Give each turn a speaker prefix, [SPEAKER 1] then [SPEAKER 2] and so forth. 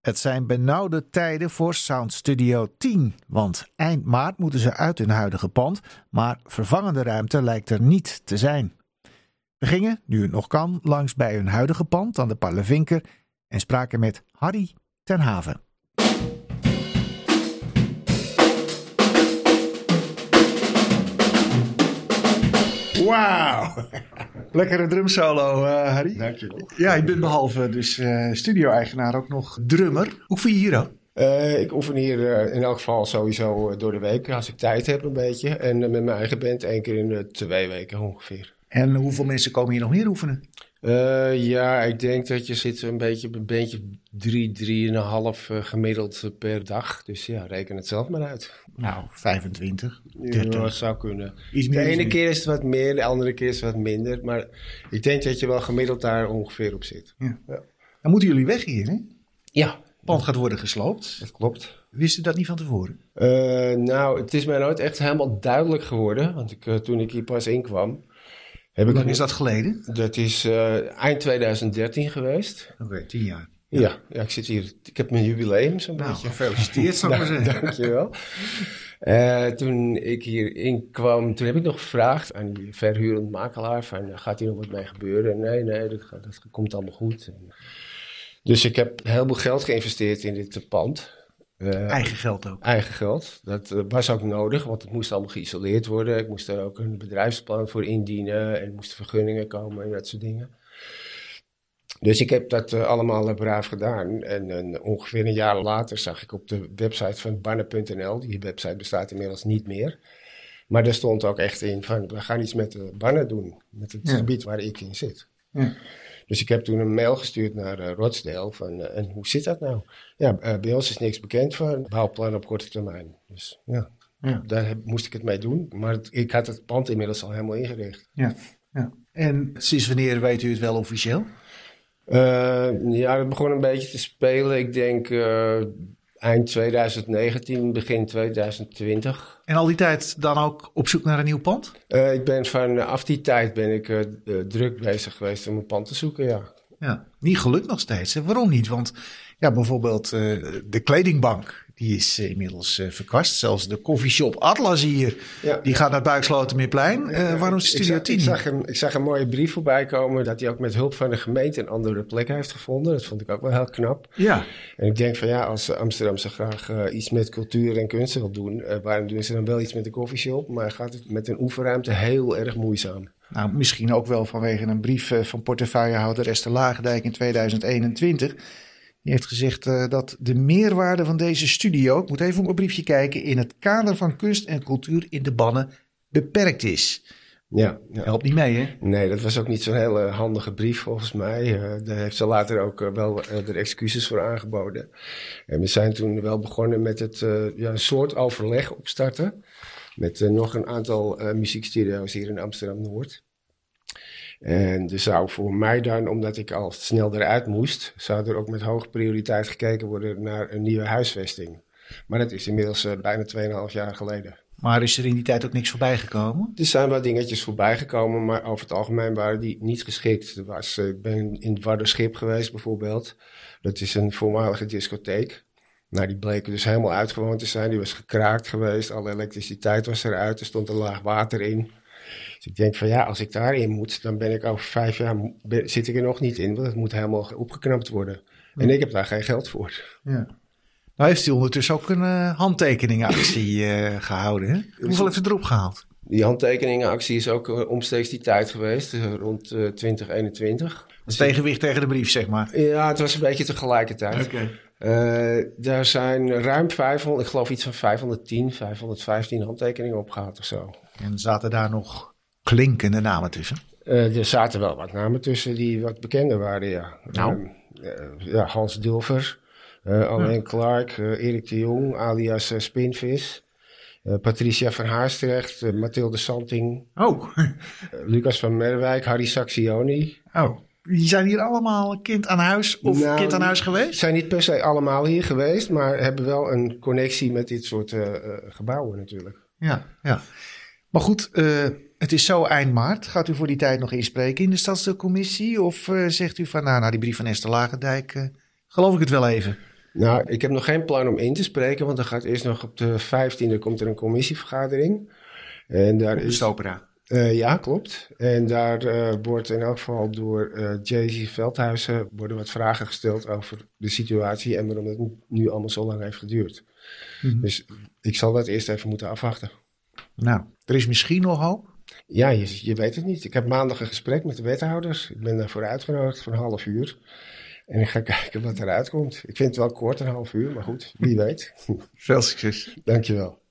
[SPEAKER 1] Het zijn benauwde tijden voor Sound Studio 10, want eind maart moeten ze uit hun huidige pand, maar vervangende ruimte lijkt er niet te zijn. We gingen, nu het nog kan, langs bij hun huidige pand aan de Parlevinker en spraken met Harry ten Haven.
[SPEAKER 2] Wauw! Lekkere drumsolo, eh Harry.
[SPEAKER 3] Dankjewel.
[SPEAKER 2] Ja, je bent behalve dus eh, studio-eigenaar ook nog drummer. Hoe vind je hier ook?
[SPEAKER 3] Eh, ik oefen hier eh, in elk geval sowieso eh, door de week, als ik tijd heb een beetje. En eh, met mijn eigen band één keer in de twee weken ongeveer.
[SPEAKER 2] En hoeveel mensen komen hier nog meer oefenen?
[SPEAKER 3] Eh, ja, ik denk dat je zit een beetje op een bandje drie, drieënhalf eh, gemiddeld eh, per dag. Dus ja, reken het zelf maar uit.
[SPEAKER 1] Nou, 25,
[SPEAKER 3] Ja,
[SPEAKER 1] 30,
[SPEAKER 3] dat zou kunnen.
[SPEAKER 1] iets
[SPEAKER 3] De
[SPEAKER 1] meer. iets
[SPEAKER 3] ene
[SPEAKER 1] minder.
[SPEAKER 3] keer is het wat meer, de andere keer is het wat minder. Maar ik denk dat je wel gemiddeld daar ongeveer op zit.
[SPEAKER 2] Dan moeten jullie weg hier, hè?
[SPEAKER 3] Ja,
[SPEAKER 2] Pand gaat worden gesloopt.
[SPEAKER 3] dat klopt.
[SPEAKER 2] Wisten dat niet van tevoren?
[SPEAKER 3] Eh, nou, het is mij nooit echt helemaal duidelijk geworden. Want ik, eh, toen ik hier pas inkwam, heb
[SPEAKER 2] Hoe
[SPEAKER 3] ik.
[SPEAKER 2] lang is dat geleden?
[SPEAKER 3] Dat is eh, eind 2013 geweest.
[SPEAKER 2] Oké, tien jaar.
[SPEAKER 3] Ja. Ja, ik zit hier. Ik heb mijn jubileum zo'n
[SPEAKER 2] Nou,
[SPEAKER 3] beetje.
[SPEAKER 2] gefeliciteerd, zou ik maar
[SPEAKER 3] Nou,
[SPEAKER 2] zeggen.
[SPEAKER 3] Dankjewel. Eh toen ik hier inkwam, toen heb ik nog gevraagd aan die verhurend makelaar: van, eh, gaat hier nog wat mee gebeuren? Nee, nee, dat, gaat- dat komt allemaal goed. En- dus ik heb heel veel geld geïnvesteerd in dit eh, pand. Eh,
[SPEAKER 2] Eigen geld ook.
[SPEAKER 3] eigen geld. Dat eh, was ook nodig, want het moest allemaal geïsoleerd worden. Ik moest daar ook een bedrijfsplan voor indienen en er moesten vergunningen komen en dat soort dingen. Dus ik heb dat eh, allemaal eh, braaf gedaan. En eh, ongeveer een jaar later zag ik op de website van banner.nl, die website bestaat inmiddels niet meer. Maar daar stond ook echt in van, we gaan iets met de banner doen. Met het
[SPEAKER 2] Ja.
[SPEAKER 3] gebied waar ik in zit.
[SPEAKER 2] Ja.
[SPEAKER 3] Dus ik heb toen een mail gestuurd naar eh, Rochdale van, eh, en hoe zit dat nou? Ja, eh, bij ons is niks bekend van bouwplan op korte termijn. Dus ja,
[SPEAKER 2] Ja.
[SPEAKER 3] daar heb- moest ik het mee doen. Maar het- ik had het pand inmiddels al helemaal ingericht.
[SPEAKER 2] Ja. ja. En sinds wanneer weet u het wel officieel?
[SPEAKER 3] Eh, ja, het begon een beetje te spelen. Ik denk eh, eind 2019, begin 2020.
[SPEAKER 2] En al die tijd dan ook op zoek naar een nieuw pand?
[SPEAKER 3] Eh, ik ben vanaf die tijd ben ik eh, d- eh, druk bezig geweest om een pand te zoeken, ja.
[SPEAKER 2] Ja, niet gelukt nog steeds. En waarom niet? Want ja, bijvoorbeeld eh, de kledingbank, die is eh, inmiddels eh, verkast. Zelfs de koffieshop Atlas hier,
[SPEAKER 3] ja.
[SPEAKER 2] die gaat naar Buikslotermeerplein. Eh waarom is
[SPEAKER 3] Ik
[SPEAKER 2] Studio
[SPEAKER 3] zag,
[SPEAKER 2] 10?
[SPEAKER 3] ik, zag een, ik zag een mooie brief voorbij komen dat hij ook met hulp van de gemeente een andere plek heeft gevonden. Dat vond ik ook wel heel knap.
[SPEAKER 2] Ja,
[SPEAKER 3] En ik denk van ja, als Amsterdam zo graag eh, iets met cultuur en kunst wil doen, eh, waarom doen ze dan wel iets met de koffieshop? Maar gaat het met een oefenruimte heel erg moeizaam.
[SPEAKER 2] nou misschien ook wel vanwege een brief eh, van portefeuillehouder Esther Lagendijk in 2021. Die heeft gezegd eh, dat de meerwaarde van deze studio, ik moet even op mijn briefje kijken, in het kader van kunst en cultuur in de bannen beperkt is.
[SPEAKER 3] Ja,
[SPEAKER 2] Helpt niet mee, hè?
[SPEAKER 3] Nee, dat was ook niet zo'n hele handige brief volgens mij. Eh, daar heeft ze later ook eh, wel eh, er excuses voor aangeboden. En we zijn toen wel begonnen met het, eh, ja, een soort overleg opstarten. Met eh, nog een aantal eh, muziekstudio's hier in Amsterdam-Noord. En er zou voor mij dan, omdat ik al snel eruit moest, zou er ook met hoge prioriteit gekeken worden naar een nieuwe huisvesting. Maar dat is inmiddels eh, bijna 2,5 jaar geleden.
[SPEAKER 2] Maar is er in die tijd ook niks voorbij gekomen?
[SPEAKER 3] Er zijn wel dingetjes voorbij gekomen, maar over het algemeen waren die niet geschikt. Er was, eh, ik ben in het Waddenschip geweest bijvoorbeeld. Dat is een voormalige discotheek. Nou, die bleken dus helemaal uitgewoond te zijn. Die was gekraakt geweest, alle elektriciteit was eruit, er stond een laag water in. Dus ik denk van ja, als ik daarin moet, dan ben ik over vijf jaar, mo- ben- zit ik er nog niet in. Want het moet helemaal opgeknapt worden. En ik heb daar geen geld voor.
[SPEAKER 2] Ja. Nou heeft hij ondertussen ook een eh, handtekeningenactie eh, gehouden. Hè? Hoeveel heeft hij erop gehaald?
[SPEAKER 3] Die handtekeningenactie is ook eh, omstreeks die tijd geweest, eh, rond eh, 2021.
[SPEAKER 2] Als tegenwicht tegen de brief, zeg maar.
[SPEAKER 3] Ja, het was een beetje tegelijkertijd. Eh, daar zijn ruim 500, ik geloof iets van 510, 515 handtekeningen opgehaald of zo.
[SPEAKER 2] En zaten daar nog klinkende namen tussen?
[SPEAKER 3] Eh, er zaten wel wat namen tussen die wat bekender waren, ja.
[SPEAKER 2] Nou.
[SPEAKER 3] Eh, eh, ja, Hans Dulver, eh Alain Clark, eh, Erik de Jong, alias eh, Spinvis. eh, Patricia van Haastrecht, eh, Mathilde Santing,
[SPEAKER 2] Oh.
[SPEAKER 3] eh, Lucas van Merwijk, Harry Saxioni.
[SPEAKER 2] oh. Die zijn hier allemaal kind aan huis of
[SPEAKER 3] Nou,
[SPEAKER 2] kind aan huis geweest?
[SPEAKER 3] Zijn niet per se allemaal hier geweest, maar hebben wel een connectie met dit soort eh, eh, gebouwen natuurlijk.
[SPEAKER 2] Ja, ja. Maar goed, eh, het is zo eind maart. Gaat u voor die tijd nog inspreken in de nou, stadsdeelcommissie? Of eh, zegt u van, nou, na die brief van Esther Lagendijk eh, geloof ik het wel even?
[SPEAKER 3] Nou, ik heb nog geen plan om in te spreken, want dan gaat eerst nog op de 15e komt er een commissievergadering. En daar is,
[SPEAKER 2] Opera.
[SPEAKER 3] eh, ja, klopt. En daar eh, wordt in elk geval door eh JC Veldhuizen worden wat vragen gesteld over de situatie en waarom het nu allemaal zo lang heeft geduurd.
[SPEAKER 1] Mhm.
[SPEAKER 3] Dus ik zal dat eerst even moeten afwachten.
[SPEAKER 1] Nou,
[SPEAKER 2] Er is misschien nog hoop.
[SPEAKER 3] Ja, je, je weet het niet. Ik heb maandag een gesprek met de wethouders. Ik ben daarvoor uitgenodigd voor een half uur. En ik ga kijken wat eruit komt. Ik vind het wel kort, een half uur, maar goed, wie weet.
[SPEAKER 2] Veel succes.
[SPEAKER 3] Dankjewel.